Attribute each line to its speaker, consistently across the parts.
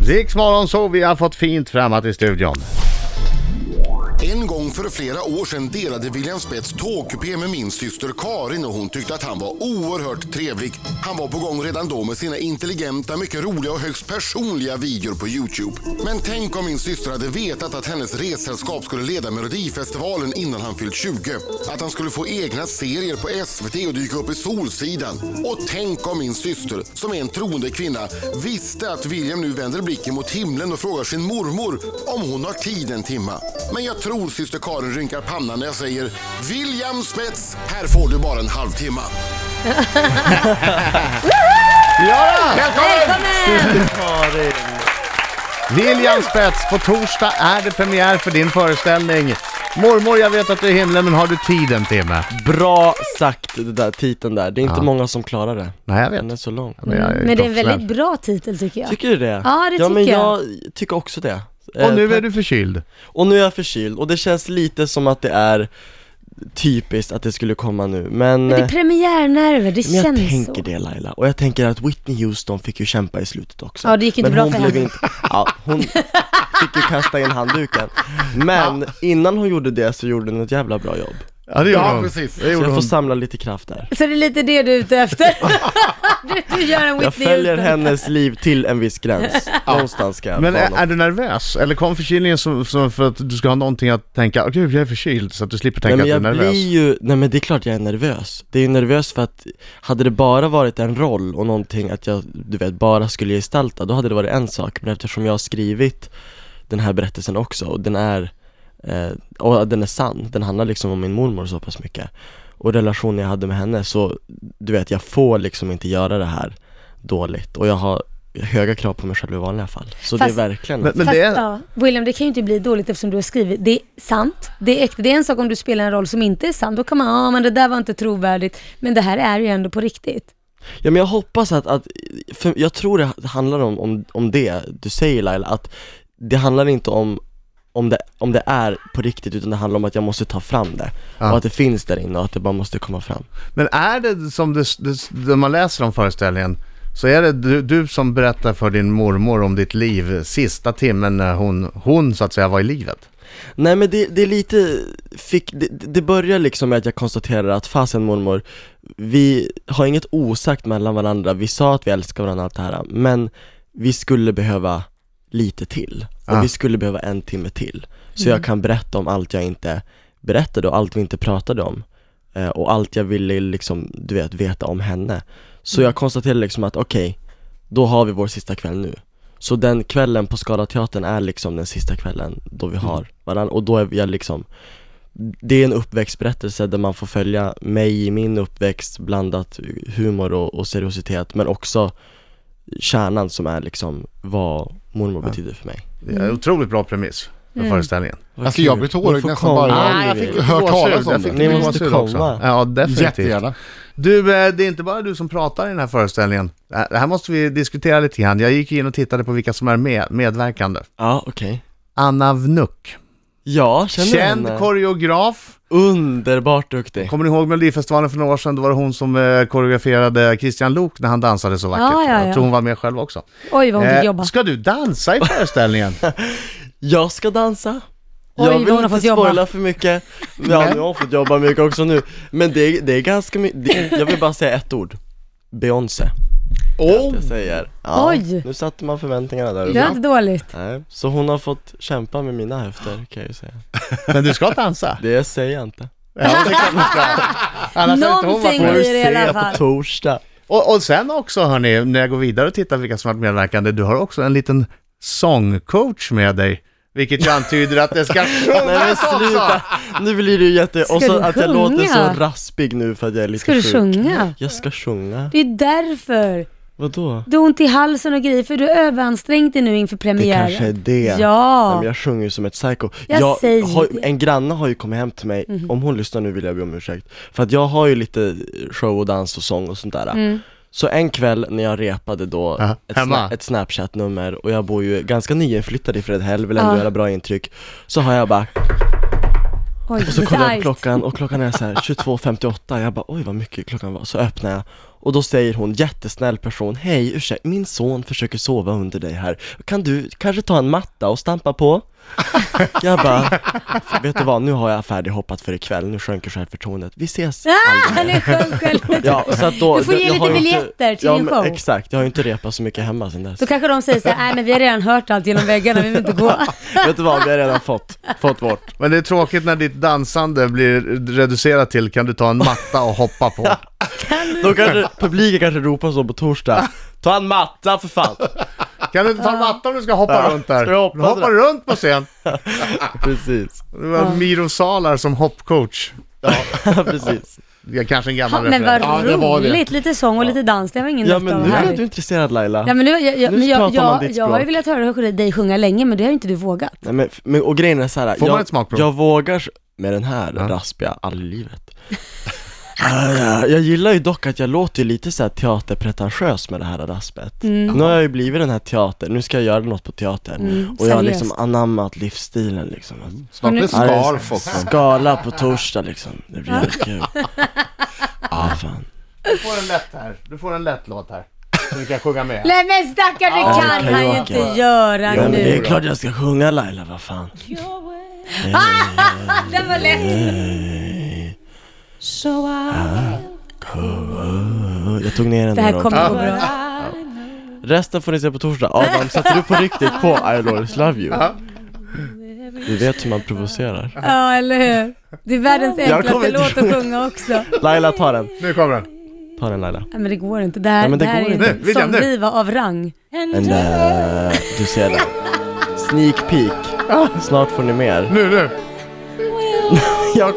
Speaker 1: Riks så vi har fått fint framåt i studion.
Speaker 2: En gång för flera år sedan delade William Spets tågkupé med min syster Karin och hon tyckte att han var oerhört trevlig. Han var på gång redan då med sina intelligenta, mycket roliga och högst personliga videor på Youtube. Men tänk om min syster hade vetat att hennes ressällskap skulle leda Melodifestivalen innan han fyllt 20. Att han skulle få egna serier på SVT och dyka upp i Solsidan. Och tänk om min syster, som är en troende kvinna, visste att William nu vänder blicken mot himlen och frågar sin mormor om hon har tid en timma. Men jag tror syster Karin rynkar pannan när jag säger William Spets, här får du bara en halvtimme.
Speaker 1: Ja!
Speaker 3: Välkommen!
Speaker 1: Lilian Spets, på torsdag är det premiär för din föreställning. Mormor, jag vet att du är i himlen, men har du tid en timme?
Speaker 4: Bra sagt, det där, titeln där. Det är inte många som klarar det.
Speaker 1: Nej, jag
Speaker 4: Den är
Speaker 1: vet.
Speaker 4: så lång.
Speaker 1: Men, jag
Speaker 3: Men det är en
Speaker 1: professionell.
Speaker 3: väldigt bra titel tycker jag.
Speaker 4: Tycker du det?
Speaker 3: Ja, det
Speaker 4: ja, men
Speaker 3: tycker
Speaker 4: jag. tycker också det. Eh,
Speaker 1: Och nu är
Speaker 4: tack.
Speaker 1: du förkyld.
Speaker 4: och nu är jag förkyld, och det känns lite som att det är typiskt att det skulle komma nu, men...
Speaker 3: Men det
Speaker 4: eh,
Speaker 3: är premiärnerver, det
Speaker 4: Men jag
Speaker 3: känns
Speaker 4: tänker
Speaker 3: så.
Speaker 4: det Laila, och jag tänker att Whitney Houston fick ju kämpa i slutet också
Speaker 3: Ja, det gick inte
Speaker 4: men
Speaker 3: bra
Speaker 4: hon
Speaker 3: för
Speaker 4: blev
Speaker 3: henne.
Speaker 4: Inte, ja, hon fick ju kasta in handduken Men innan hon gjorde det så gjorde hon ett jävla bra jobb
Speaker 1: Ja, det gjorde hon.
Speaker 2: precis.
Speaker 1: Det
Speaker 4: Så
Speaker 1: gjorde
Speaker 4: jag får
Speaker 1: hon.
Speaker 4: samla lite kraft där
Speaker 3: Så det är lite det du är ute efter? du, du gör en
Speaker 4: Jag
Speaker 3: Whitney
Speaker 4: följer
Speaker 3: Houston.
Speaker 4: hennes liv till en viss gräns, någonstans ska jag
Speaker 1: Men är,
Speaker 4: vara.
Speaker 1: är du nervös? Eller kom förkylningen som, som för att du ska ha någonting att tänka, åh gud jag är förkyld, så att du slipper
Speaker 4: Nej
Speaker 1: tänka
Speaker 4: men jag
Speaker 1: att du är nervös?
Speaker 4: blir ju, nej men det är klart jag är nervös Det är ju nervös för att, hade det bara varit en roll och någonting att jag, du vet, bara skulle gestalta, då hade det varit en sak Men eftersom jag har skrivit den här berättelsen också och den är, eh, och den är sann, den handlar liksom om min mormor så pass mycket Och relationen jag hade med henne, så du vet, jag får liksom inte göra det här dåligt Och jag har höga krav på mig själv i vanliga fall Så
Speaker 3: Fast-
Speaker 4: det är verkligen
Speaker 1: Men, men
Speaker 3: Fast,
Speaker 1: det är,
Speaker 3: ja, William, det kan ju inte bli dåligt eftersom du har skrivit. Det är sant, det är äkta. Det är en sak om du spelar en roll som inte är sann. Då kan man, ja men det där var inte trovärdigt. Men det här är ju ändå på riktigt.
Speaker 4: Ja men jag hoppas att, att för jag tror det handlar om, om, om det du säger Laila, att det handlar inte om om det, om det är på riktigt utan det handlar om att jag måste ta fram det
Speaker 1: Ja.
Speaker 4: och att det finns där inne och att det bara måste komma fram
Speaker 1: men är det som det, det, när man läser om föreställningen, så är det du, du som berättar för din mormor om ditt liv sista timmen när hon, hon så att säga var i livet?
Speaker 4: Nej men det, det är lite, fick, det, det börjar liksom med att jag konstaterar att fasen mormor, vi har inget osagt mellan varandra, vi sa att vi älskar varandra och allt det här, men vi skulle behöva lite till, och
Speaker 1: Ah.
Speaker 4: vi skulle behöva en timme till, så jag kan berätta om allt jag inte berättade och allt vi inte pratade om, eh, och allt jag ville liksom, du vet, veta om henne. Så jag konstaterar liksom att okej, då har vi vår sista kväll nu Så den kvällen på Skala teatern är liksom den sista kvällen då vi har varandra och då är jag liksom Det är en uppväxtberättelse där man får följa mig i min uppväxt blandat humor och, och seriositet men också kärnan som är liksom vad mormor betyder för mig
Speaker 1: Det
Speaker 3: Mm.
Speaker 1: är en otroligt bra premiss för föreställningen.
Speaker 4: Vad
Speaker 5: Alltså, jag
Speaker 4: kul.
Speaker 5: blir
Speaker 4: Ni
Speaker 5: tårögd
Speaker 4: får
Speaker 5: nästan
Speaker 4: komma.
Speaker 5: bara-
Speaker 4: Ah,
Speaker 5: jag
Speaker 4: ni-
Speaker 5: fick- hört talas om
Speaker 1: jag fick
Speaker 5: det.
Speaker 4: Ni
Speaker 1: lite
Speaker 4: måste
Speaker 1: gåshud också.
Speaker 4: komma.
Speaker 1: Ja, definitivt.
Speaker 5: Jättegärna.
Speaker 1: Du, eh, det är inte bara du som pratar i den här föreställningen. Det här- Det här måste vi diskutera lite grann. Jag gick in och tittade på vilka som är med, medverkande.
Speaker 4: Ja okej
Speaker 1: Anna Vnuk.
Speaker 4: Ja, känner du
Speaker 1: Känd
Speaker 4: henne?
Speaker 1: koreograf.
Speaker 4: Underbart duktig
Speaker 1: Kommer ni ihåg Melodifestivalen för några år sedan? Då var det hon som eh, koreograferade Christian Lok när han dansade så vackert.
Speaker 3: Ja, ja, ja.
Speaker 1: Jag tror hon var med själv också. Eh,
Speaker 3: Oj vad hon
Speaker 4: Eh,
Speaker 3: fick jobba.
Speaker 1: ska du dansa i föreställningen?
Speaker 4: Jag ska dansa
Speaker 3: Oj,
Speaker 4: jag
Speaker 3: vad
Speaker 4: vill
Speaker 3: hon har
Speaker 4: inte
Speaker 3: fått jobba.
Speaker 4: spoila för mycket, ja nu har hon fått jobba mycket också nu Men det, det är ganska mycket, jag vill bara säga ett ord Beyoncé
Speaker 5: Oh.
Speaker 4: Jag säger, ja,
Speaker 3: Oj.
Speaker 4: nu satte man förväntningarna där
Speaker 3: Det var inte dåligt.
Speaker 4: Nej, så hon har fått kämpa med mina höfter kan jag ju säga
Speaker 1: Men du ska dansa?
Speaker 4: Det säger jag inte
Speaker 1: Ja, det kan du ska. Annars hade inte hon varit
Speaker 3: Någonting
Speaker 1: med.
Speaker 3: blir det i
Speaker 4: Se
Speaker 3: alla
Speaker 4: på
Speaker 3: fall.
Speaker 4: torsdag
Speaker 1: Och, och sen också hörni, när jag går vidare och tittar vilka som har varit medverkande, du har också en liten sångcoach med dig. Vilket ju antyder att det ska
Speaker 4: Nej men
Speaker 1: sjungas också!
Speaker 4: sluta, nu blir det ju jätte, och
Speaker 3: Ska
Speaker 4: så
Speaker 3: du
Speaker 4: att jag låter
Speaker 3: sjunga?
Speaker 4: så raspig nu för att jag är lite
Speaker 3: Ska du
Speaker 4: sjuk.
Speaker 3: sjunga?
Speaker 4: Jag ska sjunga,
Speaker 3: Det är därför.
Speaker 4: vadå?
Speaker 3: Du har ont i halsen och grejer för du är överansträngd dig nu inför
Speaker 4: Det
Speaker 3: premiären.
Speaker 4: kanske är det Nej,
Speaker 3: Ja.
Speaker 4: men jag sjunger ju som ett psycho.
Speaker 3: Jag säger
Speaker 4: har,
Speaker 3: det. Mhm.
Speaker 4: en granne har ju kommit hem till mig, om hon lyssnar nu vill jag be om ursäkt, för att jag har ju lite show och dans och sång och sånt där.
Speaker 3: Mm.
Speaker 4: Så en kväll när jag repade då
Speaker 1: Aha,
Speaker 4: ett,
Speaker 1: hemma.
Speaker 4: sna- ett snapchat-nummer och jag bor ju ganska nyinflyttad i Fredhäll, vill ändå
Speaker 3: Ja.
Speaker 4: göra bra intryck, så har jag bara,
Speaker 3: Oj,
Speaker 4: och så kollar jag
Speaker 3: klockan.
Speaker 4: på klockan och klockan är så här 22.58, jag bara oj vad mycket klockan var, så öppnar jag Och då säger hon, jättesnäll person, hej ursäkta, min son försöker sova under dig här, kan du kanske ta en matta och stampa på? jag bara, vet du vad, nu har jag färdighoppat för ikväll, nu sjönker självförtroendet, vi ses aldrig
Speaker 3: Ah,
Speaker 4: mer.
Speaker 3: nu sjönk självförtroendet.
Speaker 4: Ja, så att då,
Speaker 3: Du får ge
Speaker 4: jag
Speaker 3: lite
Speaker 4: har ju
Speaker 3: biljetter till
Speaker 4: ja,
Speaker 3: din
Speaker 4: men
Speaker 3: show.
Speaker 4: Exakt, jag har ju inte repat så mycket hemma sedan dess.
Speaker 3: Då kanske de säger så här, nej men vi har redan hört allt genom väggarna, vi vill inte gå.
Speaker 4: Vet du vad, vi har redan fått, fått bort.
Speaker 1: Men det är tråkigt när ditt dansande blir reducerat till kan du ta en matta och hoppa på?
Speaker 4: Då kanske publiken kanske ropar så på torsdag, ta en matta för fan!
Speaker 1: Kan du inte ta en matta om du ska hoppa
Speaker 4: Ja,
Speaker 1: runt där?
Speaker 4: ska jag hoppa
Speaker 1: Du hoppar
Speaker 4: där?
Speaker 1: runt på scen.
Speaker 4: Precis,
Speaker 1: Det var Miro Salar som hoppcoach.
Speaker 4: precis.
Speaker 1: Det är kanske en
Speaker 3: Ja,
Speaker 1: gammal
Speaker 3: men vad
Speaker 1: referens.
Speaker 5: Ja, det var det.
Speaker 3: roligt, lite sång och lite dans, det var ingen
Speaker 4: Ja
Speaker 3: natt av
Speaker 4: men
Speaker 3: det
Speaker 4: nu
Speaker 3: här.
Speaker 4: är du intresserad Laila.
Speaker 3: Ja, men nu, jag, jag,
Speaker 4: Nu
Speaker 3: men jag,
Speaker 4: pratar man
Speaker 3: jag,
Speaker 4: ditt
Speaker 3: jag har ju
Speaker 4: språk.
Speaker 3: velat höra dig sjunga länge, men det har ju inte du vågat.
Speaker 4: Nej, men, men, och grejen är så här,
Speaker 1: Får man
Speaker 4: jag,
Speaker 1: ett smakprov?
Speaker 4: jag vågar med den här
Speaker 1: Ja.
Speaker 4: raspiga all i livet. Ah, ja, jag gillar ju dock att jag låter ju lite så här teaterpretentiös med det här raspet. Nu har jag ju blivit den här teatern, nu ska jag göra något på teatern.
Speaker 3: Mm,
Speaker 4: och jag har
Speaker 3: seriöst.
Speaker 4: liksom anammat livsstilen liksom.
Speaker 1: Mm.
Speaker 5: Snart blir det
Speaker 4: Ja, det är
Speaker 5: scarf också.
Speaker 4: Skala på torsdag liksom, det blir jävligt kul. Ah, fan.
Speaker 1: Du får en lätt här. Du får en lätt låt här. Som du kan sjunga med.
Speaker 3: Nej men stackar, det
Speaker 4: Ja,
Speaker 3: kan
Speaker 4: det kan
Speaker 3: han ju
Speaker 4: jag
Speaker 3: inte
Speaker 4: inte.
Speaker 3: göra
Speaker 4: Ja, men det
Speaker 3: nu.
Speaker 4: är klart jag ska sjunga Laila, vad fan.
Speaker 3: Den var lätt.
Speaker 4: Oh, Jag tog ner den
Speaker 3: Det här
Speaker 4: några
Speaker 3: kommer
Speaker 4: gånger.
Speaker 3: gå bra.
Speaker 4: Resten får ni se på torsdag. Adam, satte du på riktigt på I always love you? Du vet hur man provocerar.
Speaker 3: Ja, eller hur? Det är världens
Speaker 4: kommer
Speaker 3: enklaste
Speaker 4: inte
Speaker 3: låt att
Speaker 4: sjunga.
Speaker 3: sjunga också.
Speaker 4: Laila, ta den.
Speaker 1: Nu kommer den.
Speaker 4: Ta den Laila.
Speaker 3: Nej men det går inte. Det här,
Speaker 4: Nej, men
Speaker 3: det
Speaker 4: det
Speaker 3: här
Speaker 4: går
Speaker 3: är
Speaker 4: inte.
Speaker 1: Nu, William,
Speaker 3: en
Speaker 1: nu.
Speaker 3: sångdiva av rang.
Speaker 4: And, uh, du ser den. Sneak peek. Snart får ni mer.
Speaker 1: Nu, nu.
Speaker 4: Jag,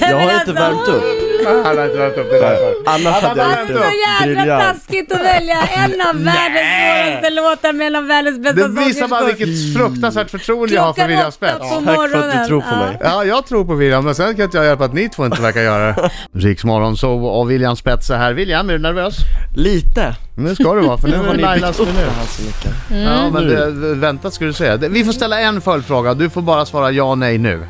Speaker 4: jag har inte värmt upp.
Speaker 1: Ah, Han har inte värmt upp det därför.
Speaker 4: Annars hade jag
Speaker 3: Det är
Speaker 4: inte
Speaker 3: så jävla
Speaker 4: briljant.
Speaker 3: taskigt att välja en av världens svåraste låtar mellan världens bästa
Speaker 1: Det
Speaker 3: sånger.
Speaker 1: visar bara vilket fruktansvärt förtroende jag har för
Speaker 3: Klockan
Speaker 1: William
Speaker 3: åtta
Speaker 1: Spets.
Speaker 3: på morgonen.
Speaker 4: Tack för att du tror på mig.
Speaker 1: Ja, jag tror på William, men sen kan inte jag hjälpa att ni två inte verkar göra det. Riksmorgon så och William Spets är här. William, är du nervös?
Speaker 4: Lite.
Speaker 1: Nu ska du vara, för nu
Speaker 4: Nu
Speaker 1: är
Speaker 4: har
Speaker 1: det
Speaker 4: ni
Speaker 1: Lailas
Speaker 4: byggt upp
Speaker 1: minut.
Speaker 4: det här så mycket.
Speaker 1: Ja, men
Speaker 4: Nu.
Speaker 1: det, vänta ska du säga. Det- Vi får ställa en följdfråga. Du får bara svara ja nej nu.
Speaker 4: F-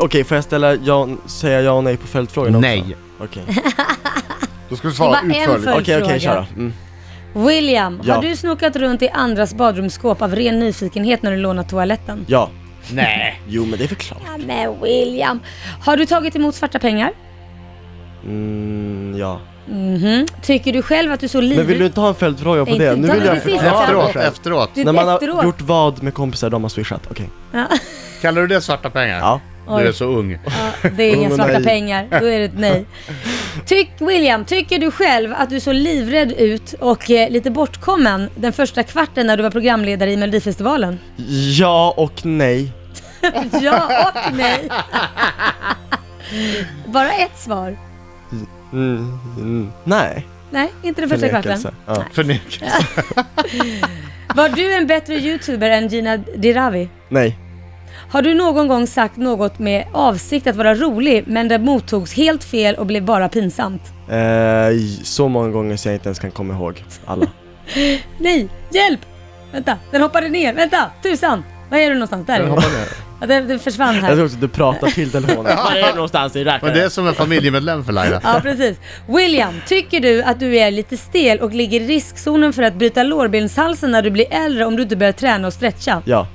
Speaker 4: Okej, Mm. får jag ställa ja, säga ja och nej på följdfrågan
Speaker 1: Nej.
Speaker 4: också? Okej.
Speaker 5: Då ska du svara
Speaker 3: Det var en
Speaker 5: utförligt.
Speaker 3: för-
Speaker 4: Okej, okej, kör då. Mm.
Speaker 3: William,
Speaker 4: Ja.
Speaker 3: har du snokat runt i andras badrumsskåp av ren nyfikenhet när du lånat toaletten?
Speaker 4: Ja.
Speaker 1: Nej.
Speaker 4: Jo, men det är väl klart.
Speaker 3: Ja, men William. Har du tagit emot svarta pengar?
Speaker 4: Mm, ja.
Speaker 3: Mhm. Tycker du själv att du så livligt...
Speaker 4: Men vill du inte ha en följdfråga på
Speaker 3: Inte
Speaker 4: det? Nu
Speaker 3: utan-
Speaker 4: vill jag
Speaker 3: precis,
Speaker 4: förklara
Speaker 1: Efteråt,
Speaker 4: själv.
Speaker 1: efteråt.
Speaker 3: Det är
Speaker 4: När man har
Speaker 3: efteråt.
Speaker 4: gjort vad med kompisar de har swishat, okej.
Speaker 3: Ja.
Speaker 1: Kallar du det svarta pengar?
Speaker 4: Ja.
Speaker 1: Du är
Speaker 3: Oj,
Speaker 1: så ung.
Speaker 3: ja, det är inga
Speaker 4: Oh,
Speaker 3: svarta
Speaker 4: nej.
Speaker 3: pengar. Då är det ett nej. Tyck, William, tycker du själv att du såg livrädd ut och eh, lite bortkommen den första kvarten när du var programledare i Melodifestivalen?
Speaker 4: Ja och nej.
Speaker 3: Ja och nej. Bara ett svar.
Speaker 4: Mm, mm, nej.
Speaker 3: Nej, inte den första kvarten.
Speaker 4: Förnekelse. Ja.
Speaker 1: Förnekelse.
Speaker 3: Var du en bättre youtuber än Gina Dirawi?
Speaker 4: Nej.
Speaker 3: Har du någon gång sagt något med avsikt att vara rolig men det mottogs helt fel och blev bara pinsamt?
Speaker 4: Eh, j- så många gånger så jag inte ens kan komma ihåg alla.
Speaker 3: Nej, hjälp! Vänta, den hoppade ner. Vänta, tusan! Var är du någonstans? Där är den. Ja, den, den försvann
Speaker 4: Jag
Speaker 3: här.
Speaker 4: tror också att du pratar till telefonen. Var är du någonstans i
Speaker 1: Men det är som en familjemedlem för Laila.
Speaker 3: Ja, precis. William, tycker du att du är lite stel och ligger i riskzonen för att bryta lårbenshalsen när du blir äldre om du inte börjar träna och stretcha?
Speaker 4: Ja.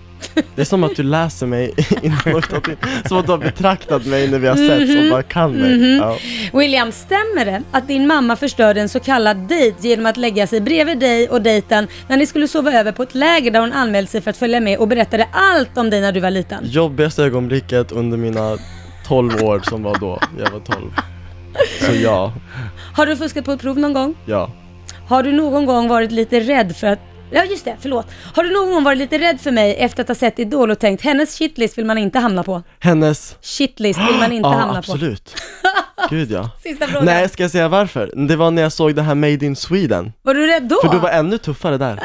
Speaker 4: Det är som att du läser mig innan du har tagit in. Som att du har betraktat mig när vi har setts och bara kan mig. Ja.
Speaker 3: William, stämmer det att din mamma förstörde en så kallad dejt genom att lägga sig bredvid dig och dejten när ni skulle sova över på ett läger där hon anmälde sig för att följa med och berättade allt om dig när du var liten?
Speaker 4: Jobbigaste ögonblicket under mina 12 år som var då. Jag var 12. Så ja,
Speaker 3: Har du fuskat på ett prov någon gång?
Speaker 4: ja.
Speaker 3: Har du någon gång varit lite rädd för att Ja just det, förlåt. Har du någon gång varit lite rädd för mig efter att ha sett Idol och tänkt hennes shitlist vill man inte hamna på?
Speaker 4: Hennes
Speaker 3: Shitlist vill man inte
Speaker 4: Ja,
Speaker 3: hamna
Speaker 4: absolut. Gud ja.
Speaker 3: på. Sista frågan.
Speaker 4: Nej, ska jag säga varför? Det var när jag såg det här Made in Sweden.
Speaker 3: Var du rädd då?
Speaker 4: För du var ännu tuffare där.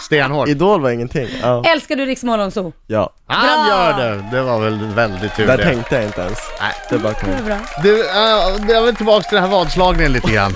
Speaker 1: Stenhårt.
Speaker 4: Idol var ingenting. Ja,
Speaker 3: Älskar du Rix Morgonzoo?
Speaker 4: ja.
Speaker 1: Han gör det! Det var väl väldigt tur
Speaker 4: där
Speaker 1: det.
Speaker 4: tänkte jag inte ens.
Speaker 1: Nej.
Speaker 4: Det bara kom.
Speaker 3: Det var bra.
Speaker 1: Du, äh, jag vill tillbaka till den här vadslagningen lite grann.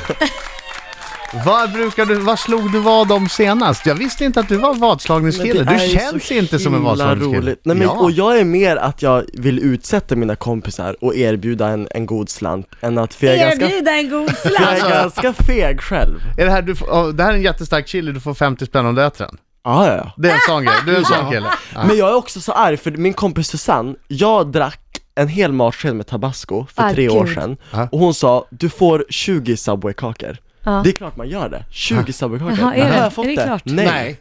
Speaker 1: Var, brukar du, var slog du vad om senast? Jag visste inte att du var vadslagningskille. Du
Speaker 4: är ju
Speaker 1: känns
Speaker 4: så
Speaker 1: inte som en
Speaker 4: himla
Speaker 1: vadslagningskille.
Speaker 4: roligt. Nej, men,
Speaker 1: ja.
Speaker 4: Och jag är mer att jag vill utsätta mina kompisar och erbjuda en, en god slant än att, för jag är, ganska,
Speaker 3: Erbjuda en god
Speaker 4: jag
Speaker 3: slant.
Speaker 4: är ganska feg själv.
Speaker 1: är det, här, du, får- åh, det här är en jättestark chili, du får 50 spänn om du äter den.
Speaker 4: Ja, ja, ja.
Speaker 1: Det är en sån grej, du är en sån kille. Ja.
Speaker 4: Men jag är också så arg för min kompis Susanne, jag drack en hel matsked med tabasco för
Speaker 3: Ah,
Speaker 4: tre år
Speaker 3: gud.
Speaker 4: sedan
Speaker 1: Ja.
Speaker 4: och hon sa du får 20 Subway-kakor.
Speaker 3: Ja.
Speaker 4: Det är klart man gör det, 20 Subway-kakor.
Speaker 3: Jaha, är
Speaker 4: Har
Speaker 3: det?
Speaker 4: jag fått
Speaker 3: Är det klart?
Speaker 4: Nej.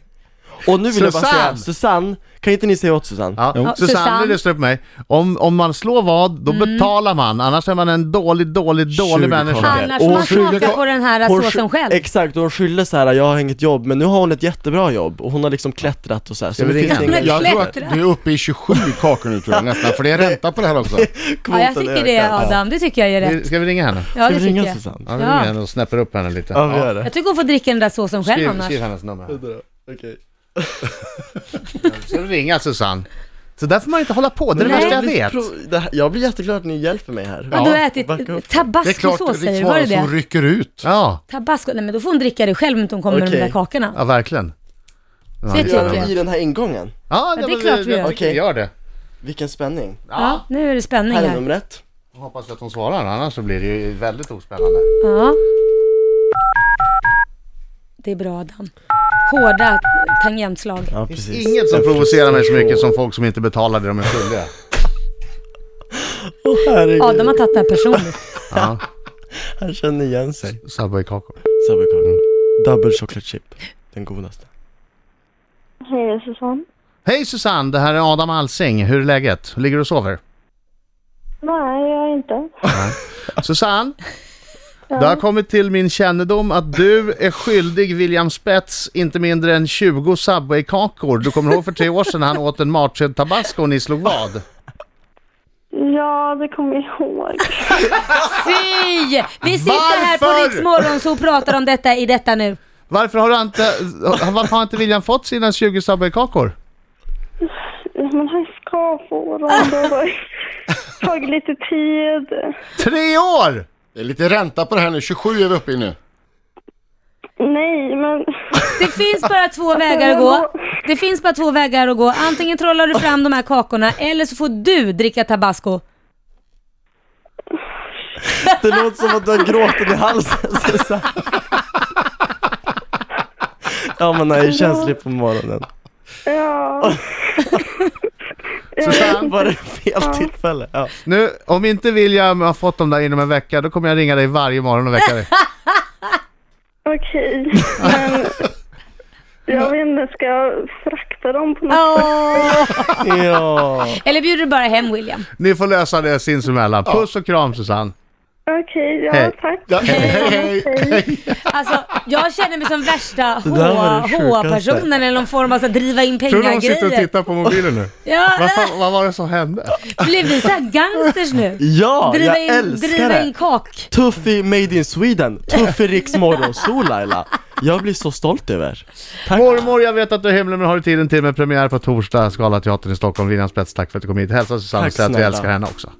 Speaker 4: Och nu vill jag bara säga,
Speaker 1: Susanne!
Speaker 4: Susanne, kan inte ni säga åt Susanne?
Speaker 1: Ja.
Speaker 3: Ja,
Speaker 1: Susanne,
Speaker 3: Susanne.
Speaker 1: Susanne, lyssna på mig. Om, om man slår vad, då betalar man. Annars är man en dålig, dålig, dålig
Speaker 4: 20
Speaker 1: människa.
Speaker 4: kronor.
Speaker 3: Annars
Speaker 4: Och
Speaker 3: får man
Speaker 4: hon skyller
Speaker 3: smaka
Speaker 4: på-
Speaker 3: på den här
Speaker 4: Hon sky-
Speaker 3: såsen själv.
Speaker 4: Exakt, och hon skyller så här, jag har inget jobb, men nu har hon ett jättebra jobb och hon har liksom klättrat och så här, så
Speaker 1: vi
Speaker 4: nu
Speaker 1: ringa
Speaker 4: finns det
Speaker 1: henne?
Speaker 4: inga
Speaker 3: Men
Speaker 5: Jag tror att
Speaker 3: klättra.
Speaker 5: du är uppe i 27 kakor nu tror jag nästan, för det är ränta på det här också.
Speaker 3: Ja, jag tycker det Adam, det tycker jag är rätt.
Speaker 1: Vi- Ska vi ringa henne?
Speaker 3: Ja,
Speaker 4: Ska
Speaker 3: det
Speaker 4: vi
Speaker 3: tycker
Speaker 4: ringa
Speaker 3: jag.
Speaker 4: Susanne?
Speaker 1: Ja, vi
Speaker 3: Ja.
Speaker 1: ringer henne och snäpper upp henne lite.
Speaker 4: Ja, vi gör det.
Speaker 3: Jag tycker hon får dricka den där såsen själv
Speaker 1: Skriv,
Speaker 3: annars.
Speaker 1: skriv hennes nummer. här. Ska du ringa Susanne? Så där får man inte hålla på, det är det
Speaker 3: Nej.
Speaker 1: värsta jag
Speaker 4: blir
Speaker 1: vet.
Speaker 4: pro- det här- Jag blir jätteglad att ni hjälper mig här.
Speaker 3: Ja, du har
Speaker 4: Backa upp.
Speaker 3: ätit
Speaker 5: Det är klart,
Speaker 3: tabascosås säger
Speaker 5: Riks
Speaker 3: du, var det
Speaker 5: Morgonzoo
Speaker 3: det?
Speaker 5: rycker ut.
Speaker 1: Ja,
Speaker 3: Tabasco, nej men då får hon dricka det själv om inte hon kommer med de
Speaker 4: Okej.
Speaker 3: där kakorna.
Speaker 1: ja verkligen. Ja,
Speaker 3: Det
Speaker 1: vi
Speaker 3: tycker
Speaker 1: gör
Speaker 4: Gör vi i den här ingången?
Speaker 1: Ja,
Speaker 3: Ja, det är
Speaker 1: men
Speaker 3: klart vi gör.
Speaker 1: Jag tycker vi gör det.
Speaker 4: Vilken spänning.
Speaker 3: Ja, nu är det spänning
Speaker 4: Här är
Speaker 3: här.
Speaker 4: numret.
Speaker 1: Jag Hoppas att hon svarar, annars så blir det ju väldigt ospännande.
Speaker 3: Ja. Det är bra Adam. Hårda tangentslag.
Speaker 4: Ja,
Speaker 1: Det finns inget som provocerar mig så mycket som folk som inte betalar det de är skyldiga.
Speaker 4: Åh herregud,
Speaker 3: Adam har tagit det här personligt.
Speaker 1: Ja,
Speaker 4: han känner igen sig.
Speaker 1: Subway-kakor.
Speaker 4: Sabekakor. Double chocolate chip. Den godaste.
Speaker 6: Hej, det är Susanne.
Speaker 1: Hej Susanne, det här är Adam Alsing. Hur är läget? Ligger du och sover?
Speaker 6: Nej, jag är inte.
Speaker 1: Susanne, det har kommit till min kännedom att du är skyldig William Spets inte mindre än 20 Subway-kakor. Du kommer ihåg för tre år sedan han åt en matsked tabasco och ni slog vad?
Speaker 6: Ja, det kommer jag ihåg.
Speaker 3: Fy! Vi sitter här på
Speaker 1: Varför?
Speaker 3: Riks Morgonzoo och pratar om detta i detta nu.
Speaker 1: Varför har, du inte, varför har inte William fått sina 20 Subway-kakor?
Speaker 6: Men han ska få dem. Det har tagit lite tid.
Speaker 1: Tre år!
Speaker 5: Det är lite ränta på det här nu, 27 är vi uppe i nu.
Speaker 6: Nej, men...
Speaker 3: Det finns bara två vägar att gå. Det finns bara två vägar att gå. Antingen trollar du fram de här kakorna eller så får du dricka tabasco.
Speaker 4: Det låter som att du har gråten i halsen Susanne. Ja man är ju känslig på morgonen.
Speaker 6: Ja.
Speaker 1: Susanne,
Speaker 4: Var det fel tillfälle? Ja.
Speaker 1: nu, om inte William har fått dem där inom en vecka, då kommer jag ringa dig varje morgon och väcka dig.
Speaker 6: Okej. Men... Jag vet inte, ska jag frakta dem på något
Speaker 3: Åh.
Speaker 4: ja.
Speaker 3: Eller bjuder du bara hem William?
Speaker 1: Ni får lösa det sinsemellan. Puss och kram Susanne.
Speaker 6: Okej, ja,
Speaker 1: Hej.
Speaker 6: tack.
Speaker 5: Ja, hej, hej.
Speaker 3: Alltså, jag känner mig som värsta
Speaker 4: Det där var det sjukaste.
Speaker 3: HA-personen eller någon form av så här, driva in
Speaker 1: Tror du de sitter och
Speaker 3: pengar-grejer.
Speaker 1: tittar på mobilen nu?
Speaker 3: Ja,
Speaker 1: Vad, fan, vad var det som hände?
Speaker 3: äh, blev vi såhär gangsters nu?
Speaker 4: Ja,
Speaker 3: Driva
Speaker 4: jag
Speaker 3: in,
Speaker 4: älskar
Speaker 3: driva
Speaker 4: det!
Speaker 3: in kak.
Speaker 4: Tuff i Made in Sweden, tuff i Riks morgonsol Laila. Jag blir så stolt över. Tack.
Speaker 1: Mormor, jag vet att du är himlen men har du tid en timme. Premiär på torsdag, Scalateatern i Stockholm. William Spets, tack för att du kom hit. Hälsa Susanne
Speaker 4: Tack
Speaker 1: och säg att vi
Speaker 4: snälla.
Speaker 1: älskar henne också.